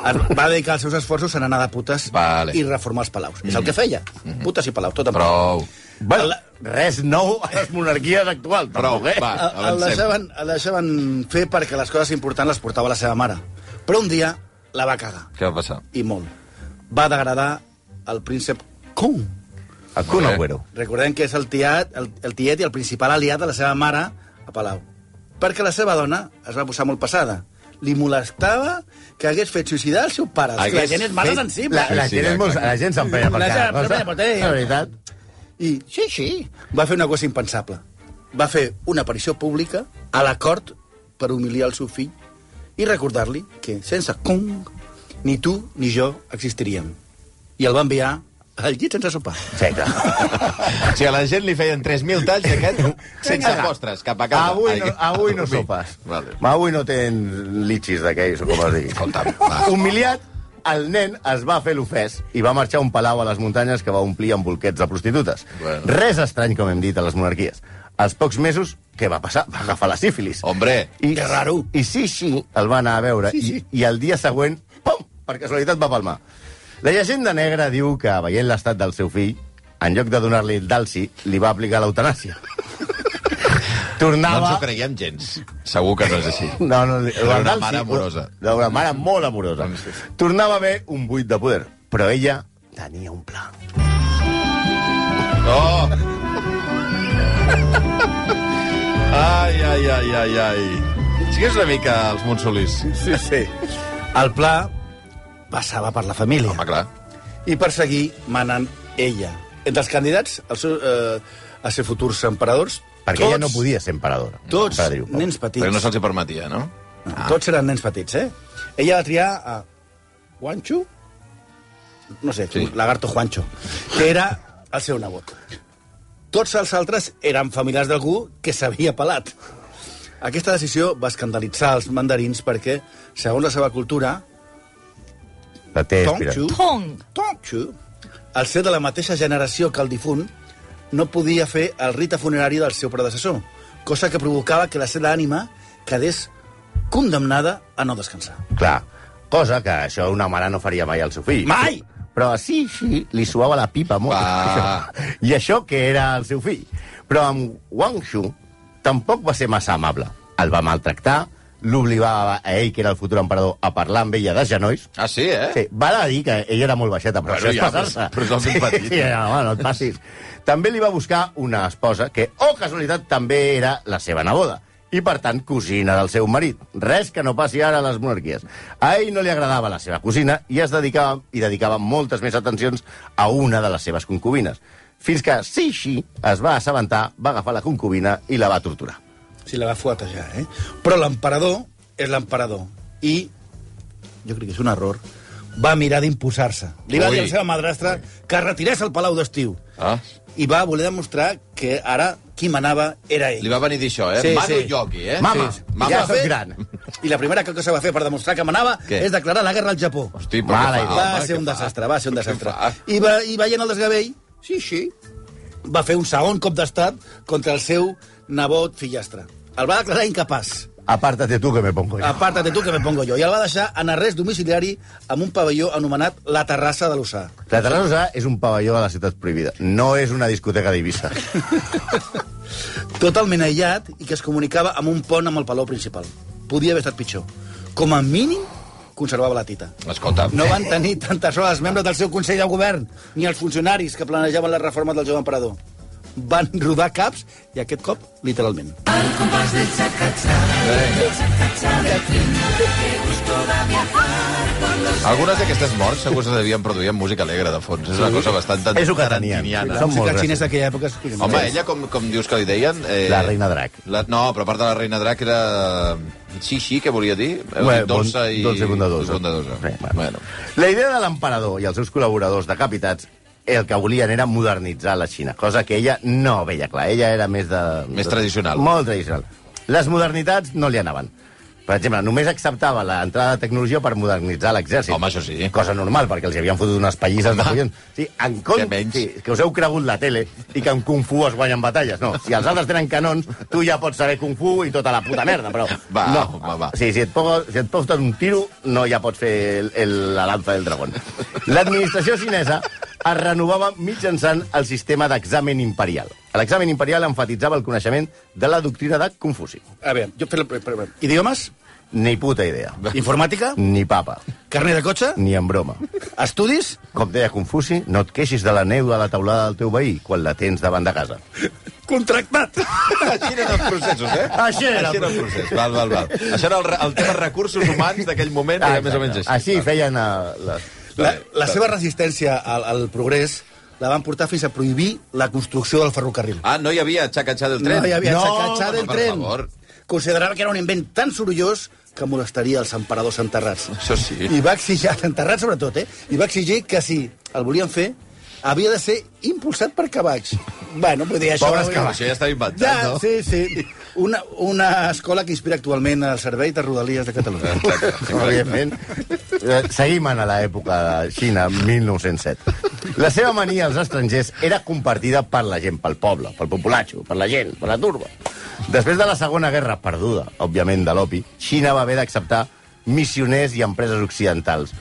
Speaker 6: es va dedicar els seus esforços a anar de putes
Speaker 4: Vale.
Speaker 6: i reformar els palaus. És el que feia. Putes i palaus, tot en
Speaker 4: Prou.
Speaker 5: Bueno, res nou a les monarquies actuals.
Speaker 4: Prou,
Speaker 5: tampoc, eh?
Speaker 4: va,
Speaker 6: El- El
Speaker 4: avancem.
Speaker 6: deixaven, el deixaven fer perquè les coses importants les portava la seva mare. Però un dia la va cagar,
Speaker 4: Què va passar?
Speaker 6: i molt. Va degradar el príncep Kung.
Speaker 5: El Kun
Speaker 4: Molt bé.
Speaker 5: Agüero.
Speaker 6: Recordem que és el tiet, el, el tiet i el principal aliat de la seva mare a Palau. Perquè la seva dona es va posar molt pesada. Li molestava que hagués fet suïcidar el seu pare. És que La
Speaker 4: Hagués
Speaker 6: gent és mala
Speaker 4: fet
Speaker 6: sensible.
Speaker 5: La, la,
Speaker 4: Sí, sí,
Speaker 5: gent és molt,
Speaker 4: clar.
Speaker 5: la gent s'emprenya per
Speaker 6: La gent
Speaker 5: cada cosa.
Speaker 6: s'emprenya per tot. eh?
Speaker 5: La veritat.
Speaker 6: I sí, sí, va fer una cosa impensable. Va fer una aparició pública a la cort per humiliar el seu fill i recordar-li que sense Kong ni tu ni jo existiríem. I el va enviar al llit sense sopar.
Speaker 5: Sí, clar.
Speaker 4: Si a la gent li feien 3.000 talls, aquest, sense postres, cap a casa.
Speaker 5: Avui no,
Speaker 4: Ai,
Speaker 5: avui no
Speaker 4: sí.
Speaker 5: sopes.
Speaker 4: Vale.
Speaker 5: Avui no tens litxis d'aquells, o com es digui.
Speaker 4: Escolta'm, va.
Speaker 5: Humiliat, el nen es va fer l'ofès i va marxar a un palau a les muntanyes que va omplir amb bolquets de prostitutes.
Speaker 4: Bueno.
Speaker 5: Res estrany, com hem dit, a les monarquies. Als pocs mesos, què va passar? Va agafar la sífilis.
Speaker 4: Hombre,
Speaker 5: I,
Speaker 6: que raro.
Speaker 5: I sí, sí, el va anar a veure. Sí, sí. I, I el dia següent, pum, per casualitat va palmar. La llegenda negra diu que, veient l'estat del seu fill, en lloc de donar-li el dalsi, li va aplicar l'eutanàsia.
Speaker 4: no ens ho
Speaker 5: Tornava...
Speaker 4: creiem gens. Segur que no és així.
Speaker 5: No, no, li-
Speaker 4: Era una
Speaker 5: el
Speaker 4: mare amorosa.
Speaker 5: Era una mare molt amorosa.
Speaker 4: Doncs sí.
Speaker 5: Tornava a haver un buit de poder, però ella tenia un pla.
Speaker 4: Oh! Ai, ai, ai, ai, ai. Sí que és una mica els Montsolís.
Speaker 6: Sí, sí. El pla passava per la família.
Speaker 4: Home, clar.
Speaker 6: i per seguir manant ella. Entre els candidats el seu, eh, a ser futurs emperadors,
Speaker 5: Perquè
Speaker 6: tots,
Speaker 5: ella no podia ser emperadora.
Speaker 6: Tots
Speaker 5: Emperadriu, Pau.
Speaker 6: nens petits.
Speaker 4: Perquè no se'ls hi permetia, no?
Speaker 6: Ah. Tots eren nens petits, eh? Ella va triar a Guancho, no sé,
Speaker 4: Sí.
Speaker 6: sí. Lagarto Juancho, que era el seu nebot. Tots els altres eren familiars d'algú que s'havia pelat. Aquesta decisió va escandalitzar els mandarins perquè, segons la seva cultura,
Speaker 5: La té aspirant.
Speaker 6: Tongchu,
Speaker 2: Tong.
Speaker 6: Tongchu, al ser de la mateixa generació que el difunt, no podia fer el rite funerari del seu predecessor, cosa que provocava que la seva ànima quedés condemnada a no descansar.
Speaker 5: Clar, cosa que això una mare no faria mai al seu fill.
Speaker 6: Mai!
Speaker 5: Però sí, sí, li suava la pipa molt.
Speaker 4: Va.
Speaker 5: Això. I això que era el seu fill. Però amb Wang Shu tampoc va ser massa amable. El va maltractar, l'obligava a ell, que era el futur emperador, a parlar amb ella de genolls.
Speaker 4: Ah, sí, eh?
Speaker 5: Sí, va a dir que ella era molt baixeta, però
Speaker 4: Bueno,
Speaker 5: bueno, això
Speaker 4: ja,
Speaker 5: és passar-se.
Speaker 4: però és el fill petit.
Speaker 5: Sí, sí, no, home, no et passis. també li va buscar una esposa que, oh, casualitat, també era la seva neboda i, per tant, cosina del seu marit. Res que no passi ara a les monarquies. A ell no li agradava la seva cosina i es dedicava, i dedicava moltes més atencions a una de les seves concubines. Fins que Sishi es va assabentar, va agafar la concubina i la va torturar.
Speaker 6: Si la va fuetejar, eh? Però l'emperador és l'emperador. I, jo crec que és un error, va mirar d'imposar-se. Li va
Speaker 4: Ui.
Speaker 6: dir a la seva madrastra que es retirés al Palau d'Estiu.
Speaker 4: Ah.
Speaker 6: I va voler demostrar que ara qui manava era ell.
Speaker 4: Li va venir a dir això, eh?
Speaker 6: Sí,
Speaker 4: Manu
Speaker 6: sí.
Speaker 4: Yogi, eh?
Speaker 5: Mama,
Speaker 4: Sí, Mama.
Speaker 5: ja
Speaker 6: fer-
Speaker 5: soc gran.
Speaker 6: I la primera cosa que va fer per demostrar que manava
Speaker 4: Què?
Speaker 6: és declarar la guerra al Japó.
Speaker 4: Hosti, però
Speaker 5: Mare
Speaker 4: què fa,
Speaker 5: idea.
Speaker 6: va
Speaker 4: home,
Speaker 6: ser
Speaker 4: què
Speaker 6: un
Speaker 4: fa?
Speaker 6: desastre, va ser un
Speaker 4: Què
Speaker 6: desastre.
Speaker 4: fa?
Speaker 6: I, va, I veient el desgavell, sí, sí, va fer un segon cop d'estat contra el seu nebot fillastre. El va declarar incapaç.
Speaker 5: Aparta't tu, que me pongo
Speaker 4: Ah.
Speaker 5: jo.
Speaker 6: Aparta't tu que me pongo jo. I el va deixar en arrest domiciliari amb un pavelló anomenat la Terrassa de l'Ossà.
Speaker 5: La Terrassa és un pavelló de la ciutat prohibida. No és una discoteca d'Eivissa.
Speaker 6: Totalment aïllat i que es comunicava amb un pont amb el Palau principal. Podia haver estat pitjor. Com a mínim, conservava la tita.
Speaker 4: Escolta,
Speaker 6: No van tenir tanta sort els membres del seu Consell de Govern ni els funcionaris que planejaven la reforma del jove emperador. Van rodar caps, i aquest cop, literalment.
Speaker 4: algunes d'aquestes morts segur que es devien produir amb música alegre de fons. És una cosa bastant tan-
Speaker 5: És el que tenien.
Speaker 4: tarantiniana.
Speaker 5: Són
Speaker 6: La música
Speaker 5: molt
Speaker 6: xinesa d'aquella època... És...
Speaker 4: Home, ella, com, com dius que li deien... Eh,
Speaker 5: La reina drac.
Speaker 4: La, no, però a part de la reina drac era... Sí, sí, què volia dir? Heu
Speaker 5: Bé,
Speaker 4: dit dolça
Speaker 5: bon-
Speaker 4: Eh, i...
Speaker 5: dolça i bondadosa.
Speaker 4: bondadosa.
Speaker 5: Bé, bueno.
Speaker 4: bueno.
Speaker 5: La idea de l'emperador i els seus col·laboradors decapitats el que volien era modernitzar la Xina, cosa que ella no veia clar. Ella era més de...
Speaker 4: Més
Speaker 5: de-
Speaker 4: tradicional.
Speaker 5: Molt tradicional. Les modernitats no li anaven. Per exemple, només acceptava l'entrada de tecnologia per modernitzar l'exèrcit.
Speaker 4: Home, això sí.
Speaker 5: Cosa normal, perquè els hi havien fotut unes pallisses de collons. Sí, en
Speaker 4: Què
Speaker 5: compte,
Speaker 4: menys?
Speaker 5: sí, que us heu cregut la tele i que en Kung Fu es guanyen batalles. No, si els altres tenen canons, tu ja pots saber Kung Fu i tota la puta merda, però...
Speaker 4: Va,
Speaker 5: no.
Speaker 4: home, va.
Speaker 5: Sí, si et, poso, si et posen un tiro, no ja pots fer el, el, la lanza del dragón. L'administració xinesa es renovava mitjançant el sistema d'examen imperial. L'examen imperial enfatitzava el coneixement de la doctrina de Confuci.
Speaker 6: A veure, jo fer la... Idiomes,
Speaker 5: Ni puta idea.
Speaker 6: informàtica,
Speaker 5: Ni papa.
Speaker 6: carnet de cotxe,
Speaker 5: Ni en broma.
Speaker 6: estudis...
Speaker 5: Com deia Confuci, no et queixis de la neu de la teulada del teu veí quan la tens davant de casa. Mm.
Speaker 6: Contractat!
Speaker 4: Així eren els processos, eh?
Speaker 5: Així era.
Speaker 4: Així era el procés. Val, val, val. Això era el, re- el tema recursos humans d'aquell moment, era més o menys així.
Speaker 5: Així feien eh, les...
Speaker 6: La, la seva resistència al, al progrés la van portar fins a prohibir la construcció del ferrocarril.
Speaker 4: Ah, no hi havia xacatxà del tren?
Speaker 6: No hi havia
Speaker 5: No,
Speaker 6: no, xacatxà del
Speaker 4: per
Speaker 6: tren.
Speaker 4: favor.
Speaker 6: considerava que era un invent tan sorollós que molestaria els emperadors enterrats.
Speaker 4: Això sí.
Speaker 6: I va exigir, enterrat sobretot, eh? I va exigir que si el volien fer, havia de ser impulsat per cavalls. Bueno, vull dir, això...
Speaker 5: Pobres cavalls.
Speaker 4: Això eh, ja està inventat,
Speaker 6: Ja,
Speaker 4: no?
Speaker 6: sí, sí. Una, una escola que inspira actualment el servei de Rodalies de Catalunya.
Speaker 5: Òbviament. Eh, Seguim en l'època de Xina, 1907. La seva mania als estrangers era compartida per la gent, pel poble, pel populatxo, per la gent, per la turba. Després de la Segona Guerra Perduda, òbviament de l'opi, Xina va haver d'acceptar missioners i empreses occidentals,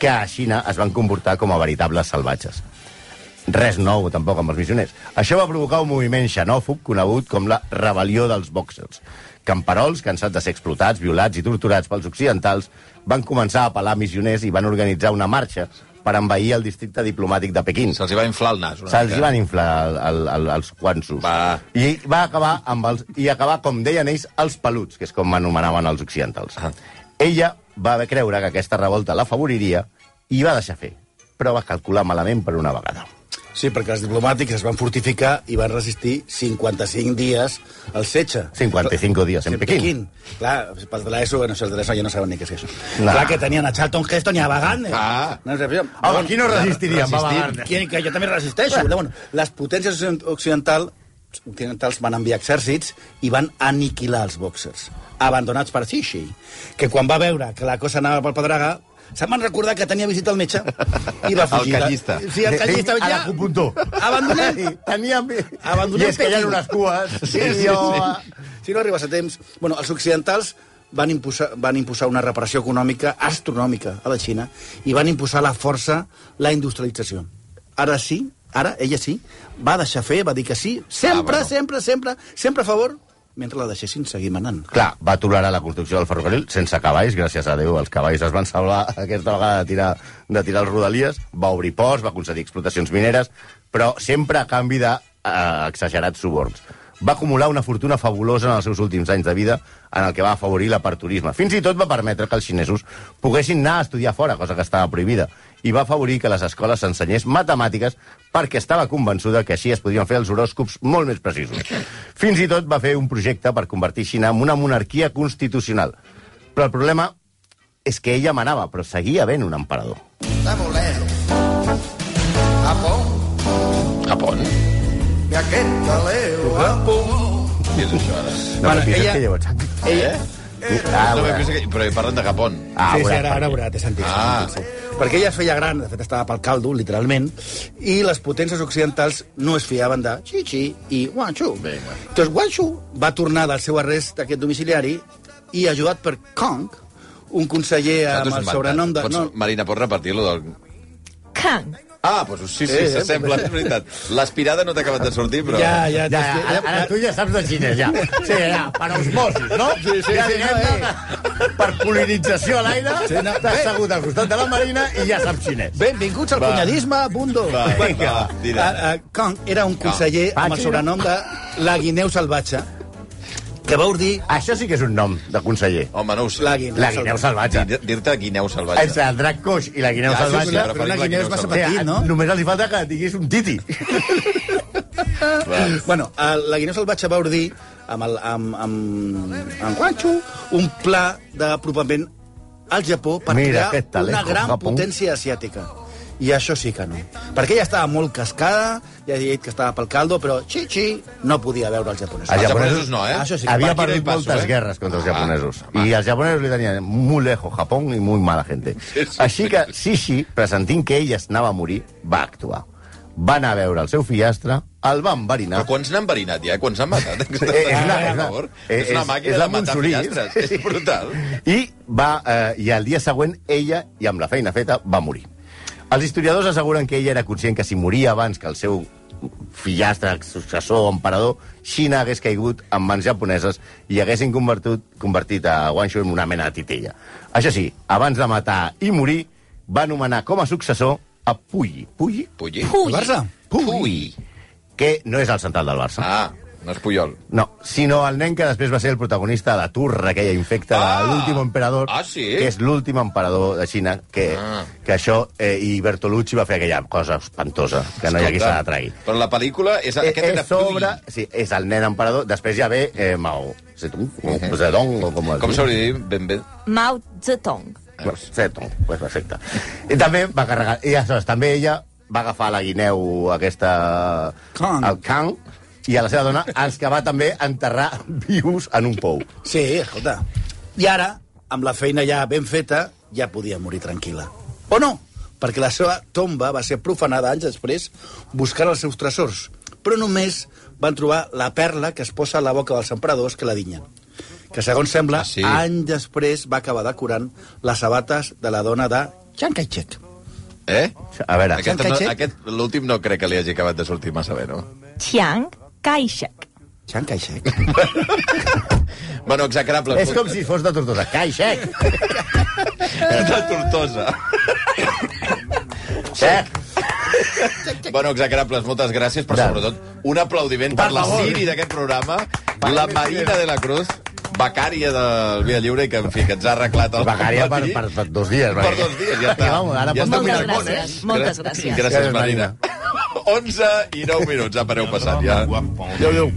Speaker 5: que a Xina es van comportar com a veritables salvatges. Res nou, tampoc, amb els missioners. Això va provocar un moviment xenòfob conegut com la rebel·lió dels bòxers. Camperols, cansats de ser explotats, violats i torturats pels occidentals, van començar a apel·lar missioners i van organitzar una marxa per envair el districte diplomàtic de Pequín.
Speaker 4: Se'ls hi va inflar el nas. una
Speaker 5: Se'ls
Speaker 4: mica.
Speaker 5: van inflar el, el, el, els quansos.
Speaker 4: Va.
Speaker 5: I va acabar amb els, i acabar, com deien ells, els peluts, que és com anomenaven els occidentals.
Speaker 4: Ah.
Speaker 5: Ella va creure que aquesta revolta l'afavoriria i va deixar fer, però va calcular malament per una vegada.
Speaker 6: Sí, perquè els diplomàtics es van fortificar i van resistir 55 dies al setge.
Speaker 5: 55 dies en Pequín.
Speaker 6: Clar, pels de l'ESO, no sé, els de l'ESO ja no saben ni què és això.
Speaker 5: Clar.
Speaker 6: Clar que tenien a Charlton Heston i a Bagande.
Speaker 4: Ah.
Speaker 6: No sé,
Speaker 5: Home, qui no resistiria, amb Baba Gardner?
Speaker 6: Qui, que jo també resisteixo. Però, bueno, les potències occident- occidental, occidentals van enviar exèrcits i van aniquilar els boxers, abandonats per Xixi, que quan va veure que la cosa anava pel pedregar, se'n van recordar que tenia visita al metge i va
Speaker 4: El
Speaker 6: fugir.
Speaker 4: callista.
Speaker 6: Sí, el callista.
Speaker 5: A
Speaker 6: Ja,
Speaker 5: l'acupuntor.
Speaker 6: Abandonem,
Speaker 5: Tenia...
Speaker 6: Abandonem
Speaker 5: I és que hi ha
Speaker 6: Pequín.
Speaker 5: unes cues.
Speaker 6: Sí, sí, sí. Si no arribes a temps... Bueno, els occidentals van imposar, van imposar una reparació econòmica astronòmica a la Xina i van imposar a la força la industrialització. Ara sí, ara, ella sí, va deixar fer, va dir que sí,
Speaker 4: Ah,
Speaker 6: sempre, ah,
Speaker 4: bueno.
Speaker 6: bueno. sempre, sempre, sempre a favor, mentre la deixessin seguir manant.
Speaker 5: Clar, va tolerar la construcció del ferrocarril sense cavalls, gràcies a Déu. Els cavalls es van salvar aquesta vegada de tirar, de tirar els rodalies, va obrir ports, va concedir explotacions mineres, però sempre a canvi d'exagerats suborns. Va acumular una fortuna fabulosa en els seus últims anys de vida, en el que va afavorir l'aperturisme. Fins i tot va permetre que els xinesos poguessin anar a estudiar fora, cosa que estava prohibida, i va afavorir que les escoles s'ensenyés matemàtiques perquè estava convençuda que així es podien fer els horòscops molt més precisos. Fins i tot va fer un projecte per convertir Xina en una monarquia constitucional. Però el problema és que ella manava, però seguia havent un emperador.
Speaker 4: A pont. Què és això, ara?
Speaker 5: No
Speaker 6: Bueno,
Speaker 5: bueno, ella...
Speaker 6: ella-
Speaker 5: que llavors...
Speaker 6: Ella, Eh,
Speaker 5: Ah,
Speaker 4: No,
Speaker 5: bueno.
Speaker 4: pensa que... Però hi parlen de Japón.
Speaker 5: Ah,
Speaker 6: sí, sí,
Speaker 5: bueno,
Speaker 6: ara, ara veurà, té sentit.
Speaker 4: Ah.
Speaker 6: té sentit, sí. Perquè ella es feia gran, de fet estava pel caldo, literalment, i les potències occidentals no es fiaven de Xixi i Guanxu.
Speaker 4: Vinga.
Speaker 6: Llavors Guanxu va tornar del seu arrest d'aquest domiciliari i ajudat per Kong, un conseller
Speaker 4: T'ho
Speaker 6: amb
Speaker 4: has
Speaker 6: el
Speaker 4: inventat.
Speaker 6: sobrenom de...
Speaker 4: Pots, Marina, pots repetir-lo del...
Speaker 2: 看
Speaker 4: Ah, doncs sí, sí,
Speaker 6: Eh, eh,
Speaker 4: s'assembla, és veritat. L'aspirada no t'ha acabat de sortir, però...
Speaker 6: Ja, ja,
Speaker 5: Ah, Ja, ja, ara, ara tu ja saps de xinès, ja. Sí, ja, per osmosis, no?
Speaker 6: Sí, sí,
Speaker 5: ja,
Speaker 6: sí, eh.
Speaker 5: diguem-ne, per pol·linització a l'aire,
Speaker 6: Sí, no,
Speaker 5: t'has
Speaker 6: bé.
Speaker 5: assegut al costat de la Marina i ja saps xinès.
Speaker 6: Benvinguts al
Speaker 4: Va.
Speaker 6: cunyadisme, Bundo.
Speaker 4: Va,
Speaker 6: Vinga.
Speaker 4: va, tira.
Speaker 6: Ah, ah, Kong era un conseller amb el
Speaker 5: Patxi, no?
Speaker 6: sobrenom de la guineu salvatge, que va ordir
Speaker 5: Això sí que és un nom de conseller.
Speaker 4: Home, no ho sé.
Speaker 6: la guineu,
Speaker 5: La guineu salvatge.
Speaker 4: Dir- Dir-te guineu salvatge.
Speaker 5: Entre el drac coix i la guineu
Speaker 4: Ja, sí,
Speaker 5: salvatge...
Speaker 4: sí,
Speaker 6: Però una
Speaker 4: preferible
Speaker 6: guineu
Speaker 4: que
Speaker 6: és
Speaker 4: no
Speaker 6: massa
Speaker 4: salvatge.
Speaker 6: petit, no?
Speaker 5: Només els hi falta que diguis un titi.
Speaker 4: Va.
Speaker 6: Bueno, eh, la Guineu Salvatge va ordir amb, el, amb, amb, amb Guanxu un pla d'apropament al Japó per
Speaker 5: Mira,
Speaker 6: crear
Speaker 5: aquest tal,
Speaker 6: una
Speaker 5: eh,
Speaker 6: gran
Speaker 5: Japó.
Speaker 6: potència asiàtica. I això sí que no. Perquè ella estava molt cascada, ja he dit que estava pel caldo, però xixi, no podia veure els japonesos.
Speaker 5: Els
Speaker 4: Els japonesos
Speaker 5: japonesos
Speaker 4: no, eh?
Speaker 6: Ah, Això sí,
Speaker 5: Havia
Speaker 4: per aquí no hi
Speaker 5: perdut
Speaker 4: passo,
Speaker 5: moltes
Speaker 4: eh?
Speaker 5: guerres contra els
Speaker 4: Ah,
Speaker 5: japonesos.
Speaker 4: home.
Speaker 5: I els japonesos li tenien molt lejos Japón i molt mala gente. Així que Sishi, pressentint que ella es anava a morir, va actuar. Va anar a veure el seu fillastre, el va enverinar...
Speaker 4: Però quants n'han verinat, ja? Quants n'han matat?
Speaker 5: Eh, és una-
Speaker 4: Per
Speaker 5: és una-
Speaker 4: favor.
Speaker 5: eh,
Speaker 4: és una
Speaker 5: és-
Speaker 4: màquina
Speaker 5: és la
Speaker 4: de matar
Speaker 5: Montsoriz.
Speaker 4: fillastres. És brutal.
Speaker 5: I, va, eh, I el dia següent, ella, i amb la feina feta, va morir. Els historiadors asseguren que ella era conscient que si moria abans que el seu fillastre, successor o emperador, Xina hagués caigut en mans japoneses i haguessin convertit, convertit a Guangzhou en una mena de titella. Això sí, abans de matar i morir, va nomenar com a successor a Puyi. Puyi?
Speaker 4: Pulli.
Speaker 2: Puyi.
Speaker 6: Barça?
Speaker 4: Pui.
Speaker 5: Que no és el central del Barça.
Speaker 4: Ah, no és Puyol.
Speaker 5: No, sinó el nen que després va ser el protagonista de la turra aquella infecta
Speaker 4: Ah!
Speaker 5: de l'últim emperador,
Speaker 4: Ah, sí?
Speaker 5: que és l'últim emperador de Xina, que,
Speaker 4: Ah.
Speaker 5: que això, eh, i Bertolucci va fer aquella cosa espantosa, que no hi ha qui se la tragui.
Speaker 4: Però la pel·lícula és...
Speaker 5: Eh,
Speaker 4: Aquest
Speaker 5: és,
Speaker 4: era Pui.
Speaker 5: sobre, sí, és el nen emperador, després ja ve eh, Mao. Zedong, o Zedong, o com es
Speaker 4: Com
Speaker 5: diu.
Speaker 4: s'hauria de dir? Ben bé.
Speaker 2: Mao Zedong.
Speaker 5: Perfecte, pues perfecte. I també va carregar... I aleshores, també ella va agafar la guineu aquesta...
Speaker 6: Kang.
Speaker 5: El Kang, i a la seva dona els que va també enterrar vius en un pou.
Speaker 6: Sí, escolta. I ara, amb la feina ja ben feta, ja podia morir tranquil·la. O no, perquè la seva tomba va ser profanada anys després buscant els seus tresors. Però només van trobar la perla que es posa a la boca dels emperadors que la dinyen. Que, segons sembla,
Speaker 4: Ah, sí?
Speaker 6: anys després va acabar decorant les sabates de la dona de Chiang Kai-shek.
Speaker 4: Eh?
Speaker 5: A veure,
Speaker 4: Aquest,
Speaker 6: Chiang
Speaker 4: no,
Speaker 6: Kai-shek?
Speaker 4: aquest l'últim no crec que li hagi acabat de sortir massa bé, no?
Speaker 2: Chiang Kai-shek.
Speaker 6: Chiang Kai-shek.
Speaker 4: Bueno, execrable.
Speaker 5: és com si fos de Tortosa. Cai, xec!
Speaker 4: És de Tortosa.
Speaker 5: Xec!
Speaker 4: Bueno, execrables, moltes gràcies, però
Speaker 5: De-
Speaker 4: sobretot un aplaudiment per la
Speaker 5: favor.
Speaker 4: Siri d'aquest programa,
Speaker 5: Per
Speaker 4: la
Speaker 5: mi,
Speaker 4: Marina de la Cruz, becària del Via Lliure, i que, en fi, que ens ha arreglat el
Speaker 5: Becària per,
Speaker 4: matí.
Speaker 5: per, per dos dies.
Speaker 4: Per dos dies, ja està.
Speaker 5: I vamos, ara
Speaker 4: ja
Speaker 5: pot
Speaker 4: està
Speaker 2: Moltes
Speaker 4: cuinant
Speaker 5: dominar el
Speaker 4: món, eh?
Speaker 2: gràcies, moltes
Speaker 4: Gràcies,
Speaker 2: gràcies.
Speaker 5: Gràcies,
Speaker 4: Marina.
Speaker 5: Marina.
Speaker 4: 11 i 9 minuts, apa, aneu passant, ja.
Speaker 3: Guapon.
Speaker 4: Adéu, adéu.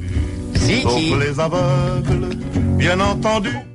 Speaker 4: Sí,
Speaker 3: Sauf
Speaker 4: sí.
Speaker 3: les aveugles, bien entendu.